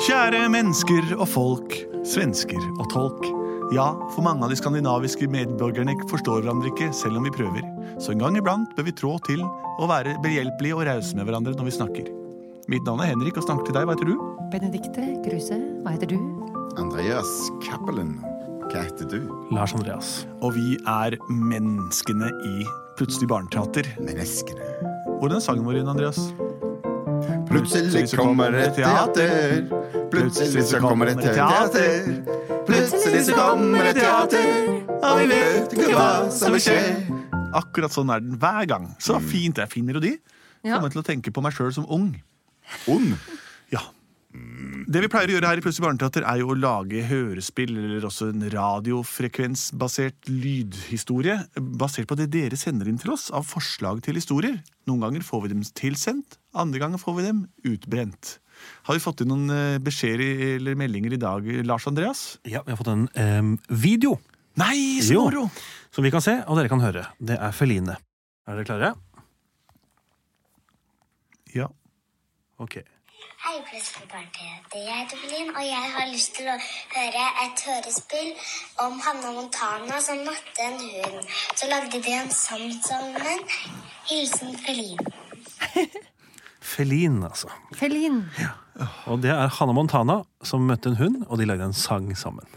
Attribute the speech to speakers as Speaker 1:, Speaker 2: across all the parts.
Speaker 1: Kjære mennesker og folk, svensker og tolk. Ja, for mange av de skandinaviske medborgerne forstår hverandre ikke, selv om vi prøver. Så en gang iblant bør vi trå til og være behjelpelige og rause med hverandre når vi snakker. Mitt navn er Henrik og snakker til deg, hva heter du?
Speaker 2: Benedikte Kruse, hva heter du?
Speaker 3: Andreas Cappelen, hva heter du?
Speaker 4: Lars Andreas.
Speaker 1: Og vi er menneskene i Plutselig barneteater.
Speaker 3: Menneskene.
Speaker 1: Hvordan er sangen vår igjen, Andreas?
Speaker 3: Plutselig så kommer et teater. Plutselig så kommer et teater. Plutselig så kommer et teater, og vi vet ikke hva som Mm. vil skje.
Speaker 1: Akkurat sånn er den hver gang. Så fint. Det er fin melodi.
Speaker 2: Ja.
Speaker 1: Kommer til å tenke på meg sjøl som ung.
Speaker 3: Ond.
Speaker 1: Ja. Det vi pleier å gjøre her i Plutselig barneteater, er jo å lage hørespill, eller også en radiofrekvensbasert lydhistorie, basert på det dere sender inn til oss av forslag til historier. Noen ganger får vi dem tilsendt, andre ganger får vi dem utbrent. Har vi fått inn noen eh, beskjeder eller meldinger i dag, Lars Andreas?
Speaker 4: Ja, vi har fått en em, video
Speaker 1: Nei, så
Speaker 4: Jo.
Speaker 1: moro!
Speaker 4: som vi kan se, og dere kan høre. Det er Feline. Er dere klare?
Speaker 1: Ja.
Speaker 4: Ok.
Speaker 5: Hei, plutselig barneteater. Jeg heter Pelin, og jeg har lyst til å høre et hørespill om Hanna Montana som matte en hund. Så lagde de en sang sammen. Hilsen Pelin.
Speaker 4: Feline, altså.
Speaker 2: Felin.
Speaker 4: Og det er Hanna Montana som møtte en hund, og de lagde en sang sammen.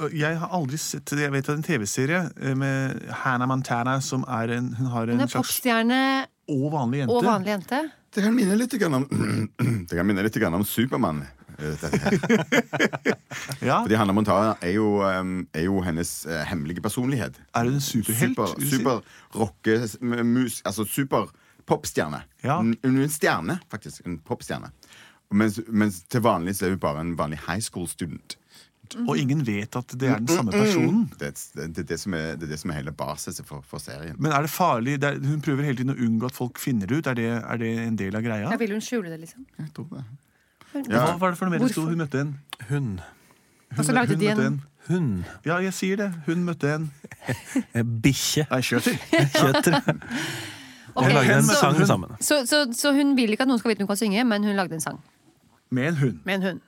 Speaker 1: Og Jeg har aldri sett det. Jeg vet at en TV-serie eh, med Hannah Montana som er en Hun har en
Speaker 2: Hun er
Speaker 1: slags
Speaker 2: popstjerne
Speaker 1: og vanlig jente.
Speaker 2: og vanlig jente.
Speaker 3: Det kan minne litt grann om Det kan minne litt grann om Supermann. eh, dette her.
Speaker 1: Ja.
Speaker 3: Fordi Hanna Montana er jo, em, er jo hennes eh, hemmelige personlighet.
Speaker 1: Er hun en superhelt? vil
Speaker 3: Super,
Speaker 1: du si?
Speaker 3: super rockemus Altså super popstjerne.
Speaker 1: Ja.
Speaker 3: Hun hun er en stjerne, faktisk. En popstjerne. Mens, mens til vanlig så er hun bare en vanlig high school student.
Speaker 1: Og
Speaker 2: Mhm.
Speaker 1: ingen vet at det er den samme personen.
Speaker 3: Det, er- det, er det, som er, det er det som er hele basis for, for serien.
Speaker 1: Men er det farlig? Det er, hun prøver hele tiden å unngå at folk finner det ut. Er det, er det en del av greia?
Speaker 2: Ja, vil hun skjule det, liksom?
Speaker 3: Jeg tror det.
Speaker 1: Hva var det for noe mer det sto?
Speaker 2: Hvorfor?
Speaker 1: Hun møtte en.
Speaker 4: Hun.
Speaker 2: Og så
Speaker 1: Hun-
Speaker 2: lagde
Speaker 1: hun
Speaker 2: de
Speaker 1: møtte
Speaker 2: en
Speaker 4: Hun.
Speaker 1: Ja, jeg sier det. Hun møtte en.
Speaker 4: Eh, Bikkje.
Speaker 1: Nei, kjøter.
Speaker 4: Kjøtter.
Speaker 2: Ok,
Speaker 4: Og lagde en
Speaker 1: Hun-
Speaker 4: sang
Speaker 1: hun-
Speaker 4: sammen.
Speaker 2: så, så, så hun vil ikke at noen skal vite hun kan synge, men hun lagde en sang
Speaker 1: Med en hund.
Speaker 2: med en hund.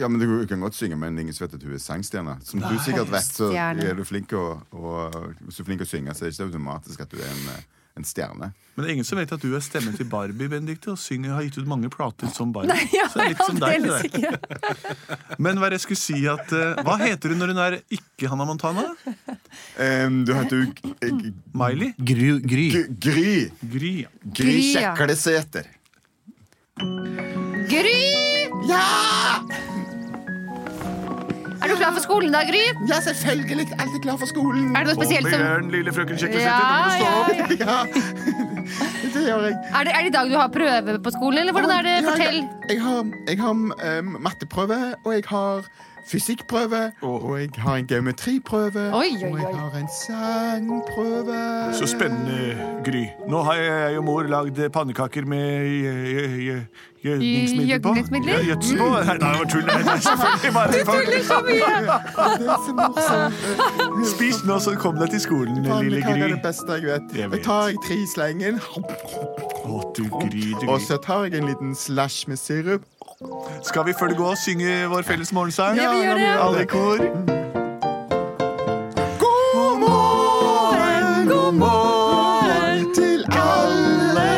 Speaker 3: Ja, men Du kan godt synge, men ingen vet at hun er sangstjerne. Som du sikkert vet, så
Speaker 2: Stjerne.
Speaker 3: er du flink å, å- hvis du er flink å synge, så er det ikke automatisk at du er en, eh, en stjerne.
Speaker 1: Men det er ingen som vet at du er stemmen til Barbie, Benedikte, og synger, har gitt ut mange plater som Barbie.
Speaker 2: Nei, ja,
Speaker 1: så det er litt som deg.
Speaker 2: aldeles
Speaker 1: det der.
Speaker 2: ikke.
Speaker 1: Men hva er det jeg skulle si at eh, Hva heter hun når hun er ikke Hannah Montana?
Speaker 3: Em, du heter jo G- G-
Speaker 1: Miley?
Speaker 4: Gry. Gry.
Speaker 3: G- Gry.
Speaker 1: Gry. ja.
Speaker 3: Gry
Speaker 2: Gry, ja.
Speaker 3: Kjeklesæter.
Speaker 2: Gry!
Speaker 3: Ja!
Speaker 2: Er du klar for skolen da, Gry?
Speaker 3: Ja, selvfølgelig! Alltid klar for skolen.
Speaker 2: Er det noe spesielt som
Speaker 1: igjen, lille frøken
Speaker 2: Ja, ja, ja.
Speaker 3: Ja, det gjør jeg.
Speaker 2: Er det, er det i dag du har prøve på skolen, eller hvordan er det?
Speaker 3: Ja, ja.
Speaker 2: Fortell.
Speaker 3: Jeg har, jeg har em, matteprøve, og jeg har fysikkprøve, og jeg har en geometriprøve,
Speaker 2: Oi, oi,
Speaker 3: og
Speaker 2: oi.
Speaker 3: jeg har en sangprøve.
Speaker 1: Så spennende, Gry. Nå har jeg og mor lagd pannekaker med gjø- gjø- gjø- gjødningsmiddel på.
Speaker 2: Gjødningsmidler?
Speaker 1: Ja, Gjødsel på? Nei, det var tull. Nei, det er selvfølgelig bare
Speaker 2: Mm. Tuller så mye!
Speaker 3: Det er så morsomt.
Speaker 1: Spis nå, så kom deg til skolen, lille
Speaker 3: Pannekaker
Speaker 1: Gry.
Speaker 3: er det beste jeg vet.
Speaker 1: Jeg vet.
Speaker 3: Jeg tar jeg tre i slengen,
Speaker 1: Å, du Gry, du
Speaker 3: og
Speaker 1: Gry.
Speaker 3: så tar jeg en liten slash med sirup.
Speaker 1: Skal vi før det går synge vår felles morgensang?
Speaker 2: Ja, vi gjør det.
Speaker 1: Alle i kor.
Speaker 3: God morgen, god morgen til alle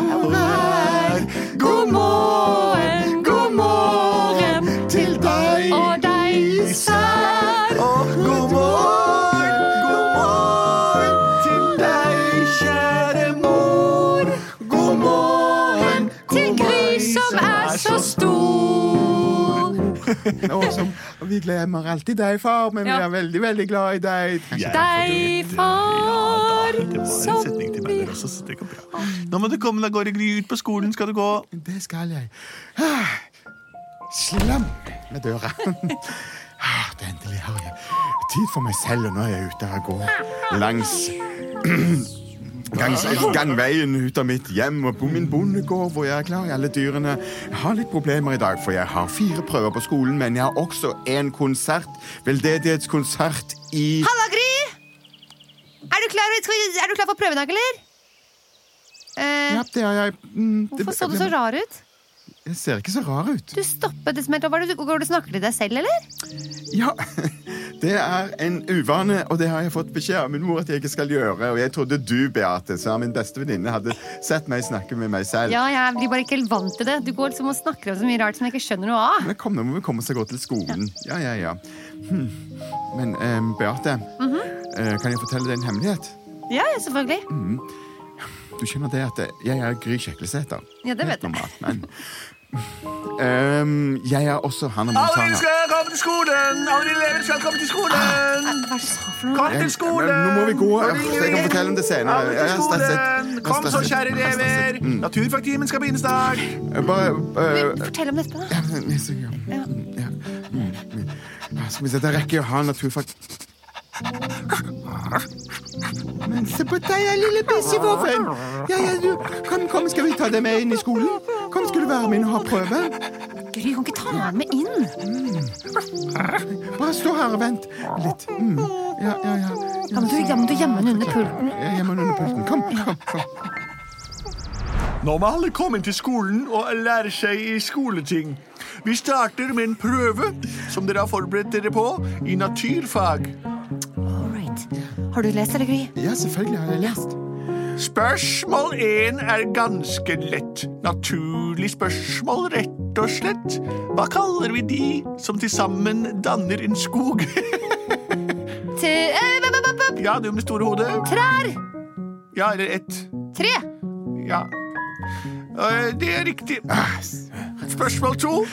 Speaker 3: og hver. God morgen, god morgen til deg
Speaker 2: Og deg sær.
Speaker 3: Og god morgen, god morgen til deg, kjære mor. God morgen
Speaker 2: Til Gry som er så stor.
Speaker 3: Og som, og vi glemmer alltid deg, far, men vi
Speaker 2: Ja.
Speaker 3: er veldig, veldig glad i deg.
Speaker 2: Deg, far,
Speaker 1: Det var en
Speaker 2: som
Speaker 1: setning til meg der også, så det går bra. Nå må du komme deg av gårde, Gry. Ut på skolen skal du gå.
Speaker 3: Det skal jeg. Ah, Slam med døra. Ah, Det er endelig har jeg tid for meg selv, og nå er jeg ute og går langs Gangs, gangveien ut av mitt hjem og på min bondegård hvor jeg er klar i alle dyrene. Jeg har litt problemer i dag, for jeg har fire prøver på skolen, men jeg har også en konsert. Veldedighetskonsert i
Speaker 2: Halla, Gry! Er du klar, skal vi- er du klar for prøven i dag, eller? Eh,
Speaker 3: Ja, det har jeg. Mm, det-
Speaker 2: hvorfor så du så rar ut?
Speaker 3: Det ser ikke så rar ut.
Speaker 2: Du stoppet det som helt opp. Hva er det du- Går du og snakker til deg selv, eller?
Speaker 3: Ja, det er en uvane, og det har jeg fått beskjed av min mor at jeg ikke skal gjøre. Og jeg trodde du, Beate, som er min beste venninne, hadde sett meg snakke med meg selv.
Speaker 2: Ja, jeg blir bare ikke helt vant til det. Du går liksom og snakker om så mye rart som jeg ikke skjønner noe av.
Speaker 3: Men kom, nå må vi komme seg godt til skolen. Ja, ja, ja. Hm. Men eh, Beate,
Speaker 2: Mhm.
Speaker 3: eh, kan jeg fortelle deg en hemmelighet?
Speaker 2: Ja, ja, selvfølgelig.
Speaker 3: Du skjønner det at jeg er Gry Kjeklesæter.
Speaker 2: Ja, det vet jeg.
Speaker 3: normalt, men... Ehm, jeg er også Hanna Montana.
Speaker 1: komme til skolen! Alle elever skal komme til skolen!
Speaker 2: Hva er det du sa for noe?
Speaker 1: Kom
Speaker 3: Jeg- men Nå må vi gå. Jeg kan fortelle om det senere. Jeg er stresset. Jeg er stresset. Jeg er stresset.
Speaker 1: Mm. Naturfagtimen skal begynne snart.
Speaker 3: Eh, Bare eh,
Speaker 2: Fortell om dette, da.
Speaker 3: Ja, men jeg synger.
Speaker 2: Ja.
Speaker 3: Ja. Mm, mm. Ja, Skal vi se, jeg rekker jo å ha naturfag... Men se på deg, da, lille bessevåfen! Ja, ja, du, kom, kom, skal vi ta deg med inn i skolen? Kom, skal du være med inn og ha prøve?
Speaker 2: Gry, kan ikke ta den med inn.
Speaker 3: Bare stå her og vent litt. Mm. Ja, ja, ja.
Speaker 2: Da må du, da må du gjemme den under pulten.
Speaker 3: Jeg er hjemme under pulten. Kom, kom, kom.
Speaker 1: Nå må alle komme inn til skolen og lære seg i skoleting. Vi starter med en prøve som dere har forberedt dere på i naturfag.
Speaker 2: All right. Har du lest, eller, Gry?
Speaker 3: Ja, selvfølgelig har jeg lest.
Speaker 1: Spørsmål én er ganske lett. Naturlig spørsmål, rett og slett. Hva kaller vi de som til sammen danner en skog?
Speaker 2: Til, eh, b- b- b- b-
Speaker 1: ja, du med store hodet.
Speaker 2: trær!
Speaker 1: Ja, eller ett.
Speaker 2: Tre!
Speaker 1: Ja. Eh, Det er riktig. Spørsmål to.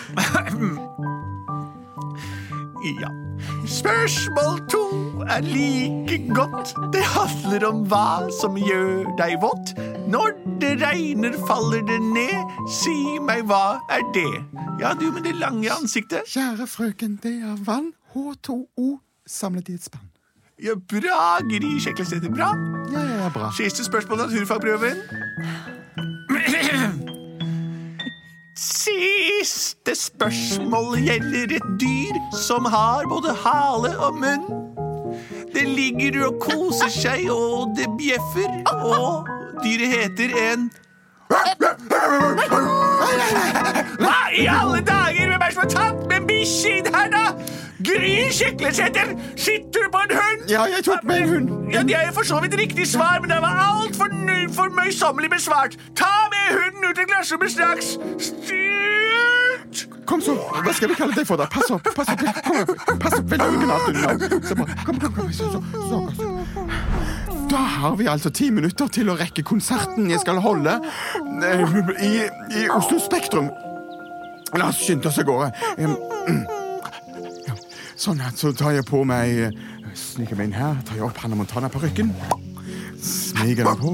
Speaker 1: Ja. Spørsmål to er like godt. Det handler om hva som gjør deg våt. Når det regner, faller det ned. Si meg, hva er det? Ja, du med det lange ansiktet.
Speaker 3: Kjære frøken, det er vann, H2O, samlet i et spann.
Speaker 1: Ja, bra, Gry Kjeklesæter. Bra.
Speaker 3: Ja, ja, ja, bra.
Speaker 1: Siste spørsmål naturfagprøven. Siste spørsmål gjelder et dyr som har både hale og munn. Det ligger og koser seg, og det bjeffer, og dyret heter en Hva i alle dager? Hvem er det som har tatt med bikkje inn her, da? Gry Kjeklesæter, sitter du på en hund?
Speaker 3: Ja, jeg tok med en hund.
Speaker 1: Ja, Det er jo for så vidt riktig svar, men det var altfor for møysommelig besvart. Ta med hunden ut i klasserommet straks! Styrt!
Speaker 3: Kom så, hva skal vi kalle deg for da? Pass opp, pass opp, kom, opp. pass opp, veldig originalt unna. Så bra. Kom, kom, kom, så, så, så, så. Da har vi altså ti minutter til å rekke konserten jeg skal holde eh, i, i Oslo Spektrum. La oss skynde oss av gårde. Em, mm. ja. Sånn, her, så tar jeg på meg, eh, sniker meg inn her, tar jeg opp Hannah Montana-parykken. Smiger meg på,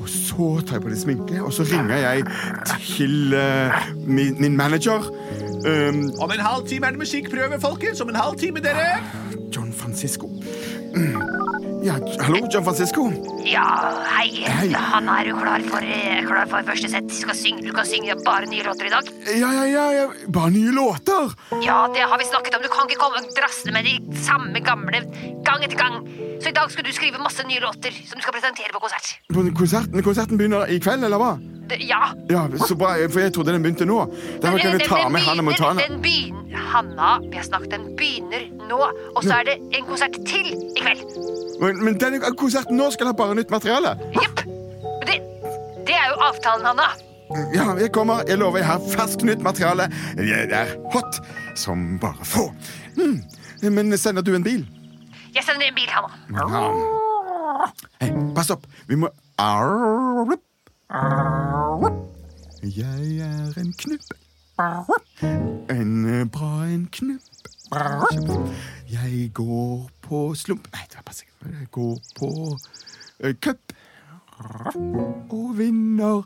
Speaker 3: og så tar jeg på litt sminke, og så ringer jeg til eh, min, min manager. Um,
Speaker 1: Om en halv time er det musikkprøve, folkens. Om en halv time, dere.
Speaker 3: John Francisco. Mm. Ja, hallo, John Francisco.
Speaker 6: Ja, hei.
Speaker 3: Hei.
Speaker 6: Han er jo klar for, eh, klar for første sett. Du skal synge, du kan synge bare nye låter i dag.
Speaker 3: Ja, ja, ja, ja. bare nye låter.
Speaker 6: Ja, det har vi snakket om. Du kan ikke komme og drassende med de samme gamle gang etter gang. Så i dag skal du skrive masse nye låter som du skal presentere på konsert.
Speaker 3: På konserten, konserten begynner i kveld, eller hva?
Speaker 6: Det- ja.
Speaker 3: Ja, så bra, for jeg trodde den begynte nå. Derfor kan vi ta med Hannah Montana.
Speaker 6: Den begynner Hanna, vi har snakket, den begynner nå. Og så er det en konsert til i kveld.
Speaker 3: Men, men denne konserten nå skal ha bare nytt materiale.
Speaker 6: Jepp. Men Det, det er jo avtalen, Hanna.
Speaker 3: Ja, jeg kommer. Jeg lover, jeg har fersk nytt materiale. Jeg er hot som bare få. Mm. Men sender du en bil?
Speaker 6: Jeg sender en bil, Hanna.
Speaker 3: Ja. Hei, pass opp. Vi må Arrup. Arrup. Jeg er en knupp. En eh, bra en knupp. Jeg går på slump Nei, det var bare sikkert. Jeg går på eh, cup og vinner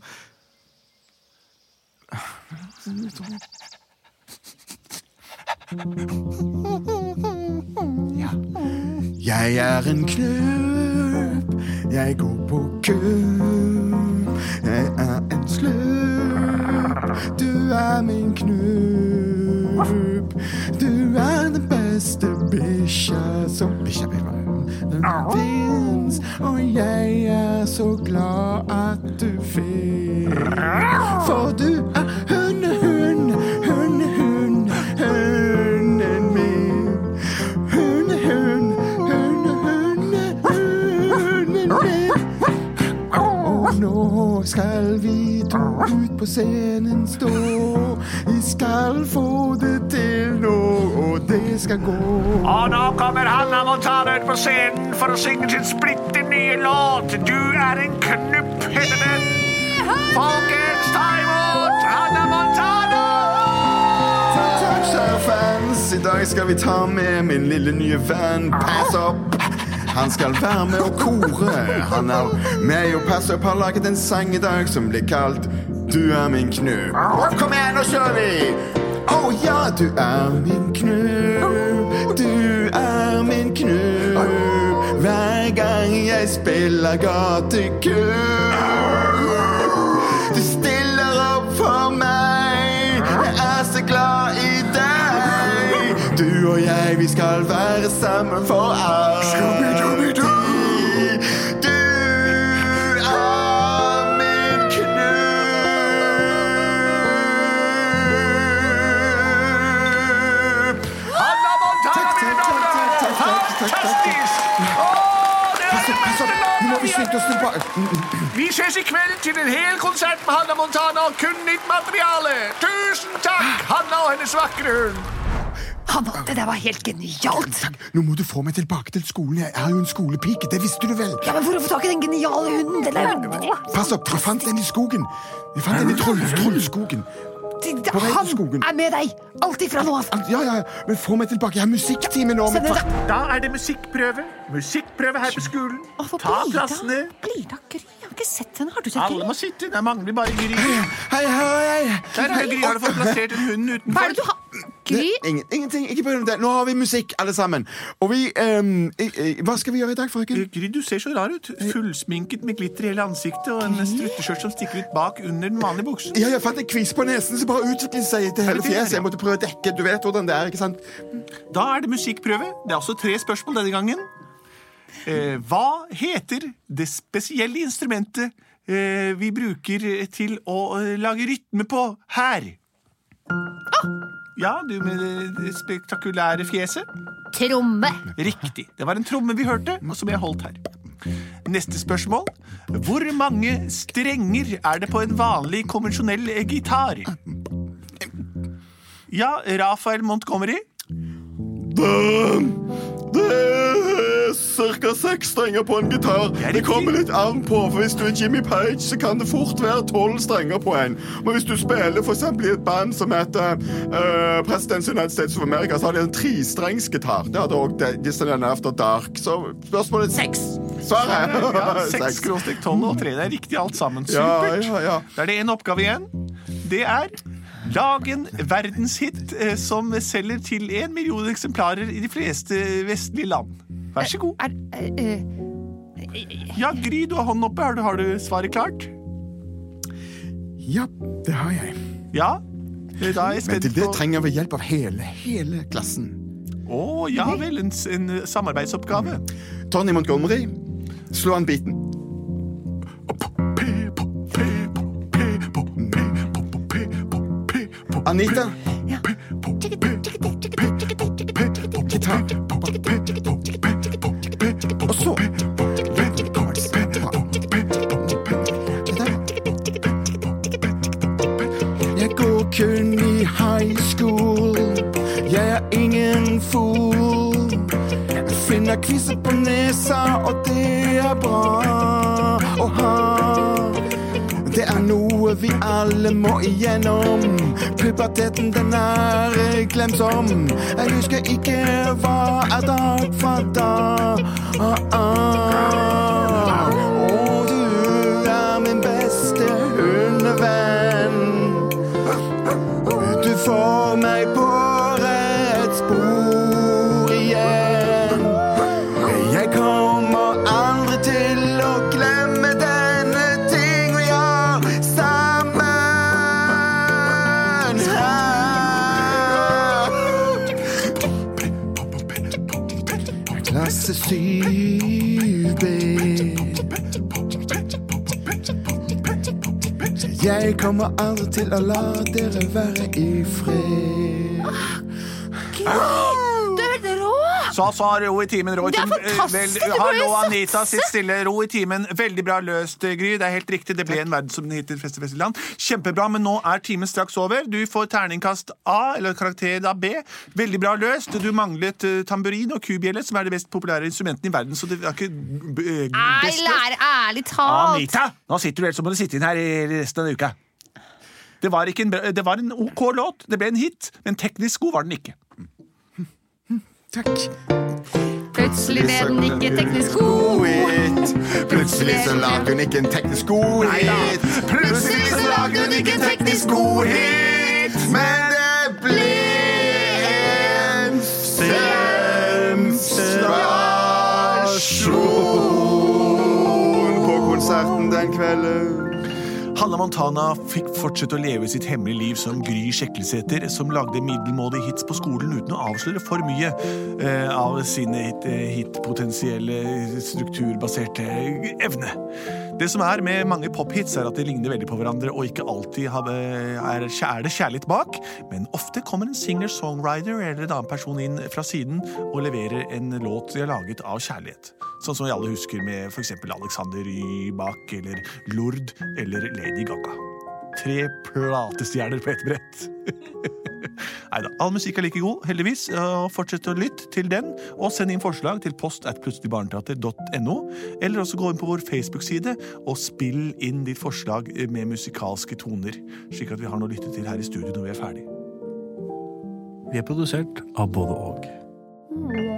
Speaker 3: Jeg er en knøp, jeg går på køp. Jeg er en sløp, du er min knup. Du er den beste bikkja som Bikkja, bikkja fins, og jeg er så glad at du fins. For du er hundehund. på scenen stå. Vi skal få det til nå, og det skal gå.
Speaker 7: Og nå kommer Hanna Montana ut på scenen for å synge sin splitter nye låt. Du er en knupp, heter den. Folkens, ta imot Hanna Montana!
Speaker 3: Touchdown-fans, i dag skal vi ta med min lille nye venn Pass Up. Han skal være med og kore. Han er med og Pass Up har laget en sang i dag som blir kalt Du er min knubb. Kom igjen, nå kjører vi! Å ja, du er min knubb. Du er min knubb. Hver gang jeg spiller gatekubb. Du stiller opp for meg Jeg er så glad i deg Du og jeg, vi skal være sammen for alltid Du er min knupp
Speaker 7: Hanna Montana,
Speaker 3: Takk,
Speaker 7: mine
Speaker 3: takk, takk,
Speaker 7: damer og
Speaker 3: takk, takk,
Speaker 7: herrer!
Speaker 3: takk, takk, takk.
Speaker 7: Fantastisk! Å, det er det
Speaker 3: Pass
Speaker 7: beste
Speaker 3: opp, nå må
Speaker 7: låten
Speaker 3: vi
Speaker 7: vi
Speaker 3: skynde
Speaker 7: har
Speaker 3: oss tilbake Mm,
Speaker 7: Vi ses i kveld til en hel konsert med Hanna Montana og kun nytt materiale. Tusen takk, Hanna og hennes vakre hund.
Speaker 6: Hanna, det der var helt genialt.
Speaker 3: Nå må du få meg tilbake til skolen Jeg er jo en skolepike, det visste du vel
Speaker 6: Ja, men For å få tak i den geniale hunden Den er jo
Speaker 3: Pass opp, jeg fant den i skogen Jeg fant den i troll, trollskogen på vei til
Speaker 6: Han
Speaker 3: skogen.
Speaker 6: er med deg! Alltid fra nå av.
Speaker 3: Ja, ja, men få meg tilbake. Jeg har musikktime nå.
Speaker 6: Send
Speaker 3: Men
Speaker 6: den
Speaker 3: fa-
Speaker 6: da.
Speaker 7: Da er det musikkprøve. Musikkprøve her på skolen. Ta plassene.
Speaker 2: Blir da Gry? Jeg har ikke sett henne. Har du sett
Speaker 7: Alle må sitte. Der mangler bare Gry.
Speaker 3: Hei, hei,
Speaker 7: Der har Gry har du fått plassert en hund utenfor.
Speaker 2: Hva er det du har? Gry?
Speaker 3: Nei, ingen, ingenting. Ikke bry deg om det. Nå har vi musikk, alle sammen. Og vi ehm, i, i, Hva skal vi gjøre i dag, frøken?
Speaker 1: Gry, du ser så rar ut. Fullsminket med glitter i hele ansiktet og en strutteskjørt som stikker ut bak under den vanlige buksen.
Speaker 3: Ja, jeg fant en kvise på nesen som bare utviklet seg til hele fjeset. Jeg måtte prøve å dekke. Du vet hvordan det er, ikke sant?
Speaker 1: Da er det musikkprøve. Det er også tre spørsmål denne gangen. Eh, hva heter det spesielle instrumentet eh, vi bruker til å eh, lage rytme på her? Ja, du med det spektakulære fjeset.
Speaker 2: Tromme.
Speaker 1: Riktig. Det var en tromme vi hørte, og som jeg holdt her. Neste spørsmål. Hvor mange strenger er det på en vanlig, konvensjonell eh, gitar? Ja, Rafael Montgomery.
Speaker 3: Det er ca. seks strenger på en gitar.
Speaker 1: Det riktig. kommer
Speaker 3: litt an på, for Hvis du er Jimmy Page, så kan det fort være tolv strenger på en. Men hvis du spiller for eksempel i et band som heter uh, Presidents United States of America, så har de en trestrengsgitar. Det hadde òg Disneyland After Dark. Så spørsmålet er seks. Svaret
Speaker 1: Ja, Seks
Speaker 3: Seks.
Speaker 1: skråstrek tolv og tre. Det er riktig alt sammen.
Speaker 3: Ja,
Speaker 1: Supert.
Speaker 3: ja, ja.
Speaker 1: Da er det én oppgave igjen. Det er Lag en verdenshit eh, som selger til én million eksemplarer i de fleste vestlige land. Vær så god.
Speaker 2: Er, eh, eh,
Speaker 1: Ja, Gry, du har hånden oppe. Har du, har du svaret klart?
Speaker 3: Ja, det har jeg.
Speaker 1: Ja? Eh, Da er jeg
Speaker 3: Men
Speaker 1: spent
Speaker 3: til det
Speaker 1: på
Speaker 3: trenger vi hjelp av hele, hele klassen.
Speaker 1: Å ja vel, en, s- en eh, samarbeidsoppgave.
Speaker 3: Tony Montgomery, slå han biten. Anita. Gitar. Og så Jeg går kun i high school. Jeg er ingen fool. Jeg finner kviser på nesa, og det er bra å ha. Det er noe vi alle må igjennom. Puberteten, den er glemsom. Jeg husker ikke hva er dag fra dag. Ah, ah. Og du er min beste hundevenn. Du får meg på rett spor igjen. Jeg kommer aldri til å glemme denne ting vi gjør sammen her. Klasse 7B. Jeg kommer aldri til å la dere være i fred.
Speaker 2: Gry, du er helt rå!
Speaker 1: Så sa ro i timen, ro i
Speaker 2: Det er
Speaker 1: timen. Eh,
Speaker 2: fantastisk,
Speaker 1: Vel,
Speaker 2: du må jo
Speaker 1: hallo, Anita,
Speaker 2: satse.
Speaker 1: sitt stille, ro i timen. Veldig bra løst, eh, Gry. Det er helt riktig. Det ble en verden som den heter Feste Festeland. Kjempebra, men nå er timen straks over. Du får terningkast A, eller karakter da B. Veldig bra løst. Du manglet eh, tamburin og kubjelle, som er det mest populære instrumentet i verden, så det var ikke eh,
Speaker 2: Nei,
Speaker 1: best løst.
Speaker 2: lærer, ærlig talt.
Speaker 1: Anita, nå sitter du helt som om du sitter inn her i resten av uka. Det var, ikke en, bra- det var en OK låt. Det ble en hit, men teknisk god var den ikke.
Speaker 3: Takk.
Speaker 2: Plutselig ble den ikke teknisk god.
Speaker 3: Godhet. Plutselig så lagde hun ikke en teknisk godhet. Plutselig så lagde hun ikke en teknisk godhet. Men det ble en sensasjon på konserten den kvelden.
Speaker 1: Hanna Montana fikk fortsette å leve sitt hemmelige liv som Gry Sjeklesæter, som lagde middelmådige hits på skolen uten å avsløre for mye eh, av sine hit- eh, hitpotensielle eh, strukturbaserte evne. Det som er med mange pophits, er at de ligner veldig på hverandre, og ikke alltid har, eh, er, er det kjærlighet bak, men ofte kommer en singer-songwriter eller en annen person inn fra siden og leverer en låt de har laget av kjærlighet. Sånn som vi alle husker med f.eks. Alexander Rybak eller Lord eller Lady Gaga. Tre platestjerner på ett brett. Nei da. All musikk er like god, heldigvis. og Fortsett å lytte til den, og send inn forslag til post at plutseligbarneteater.no. Eller også gå inn på vår Facebook-side og spill inn ditt forslag med musikalske toner, slik at vi har noe å lytte til her i studio når vi er ferdig.
Speaker 4: Vi er produsert av både og.
Speaker 2: Wow.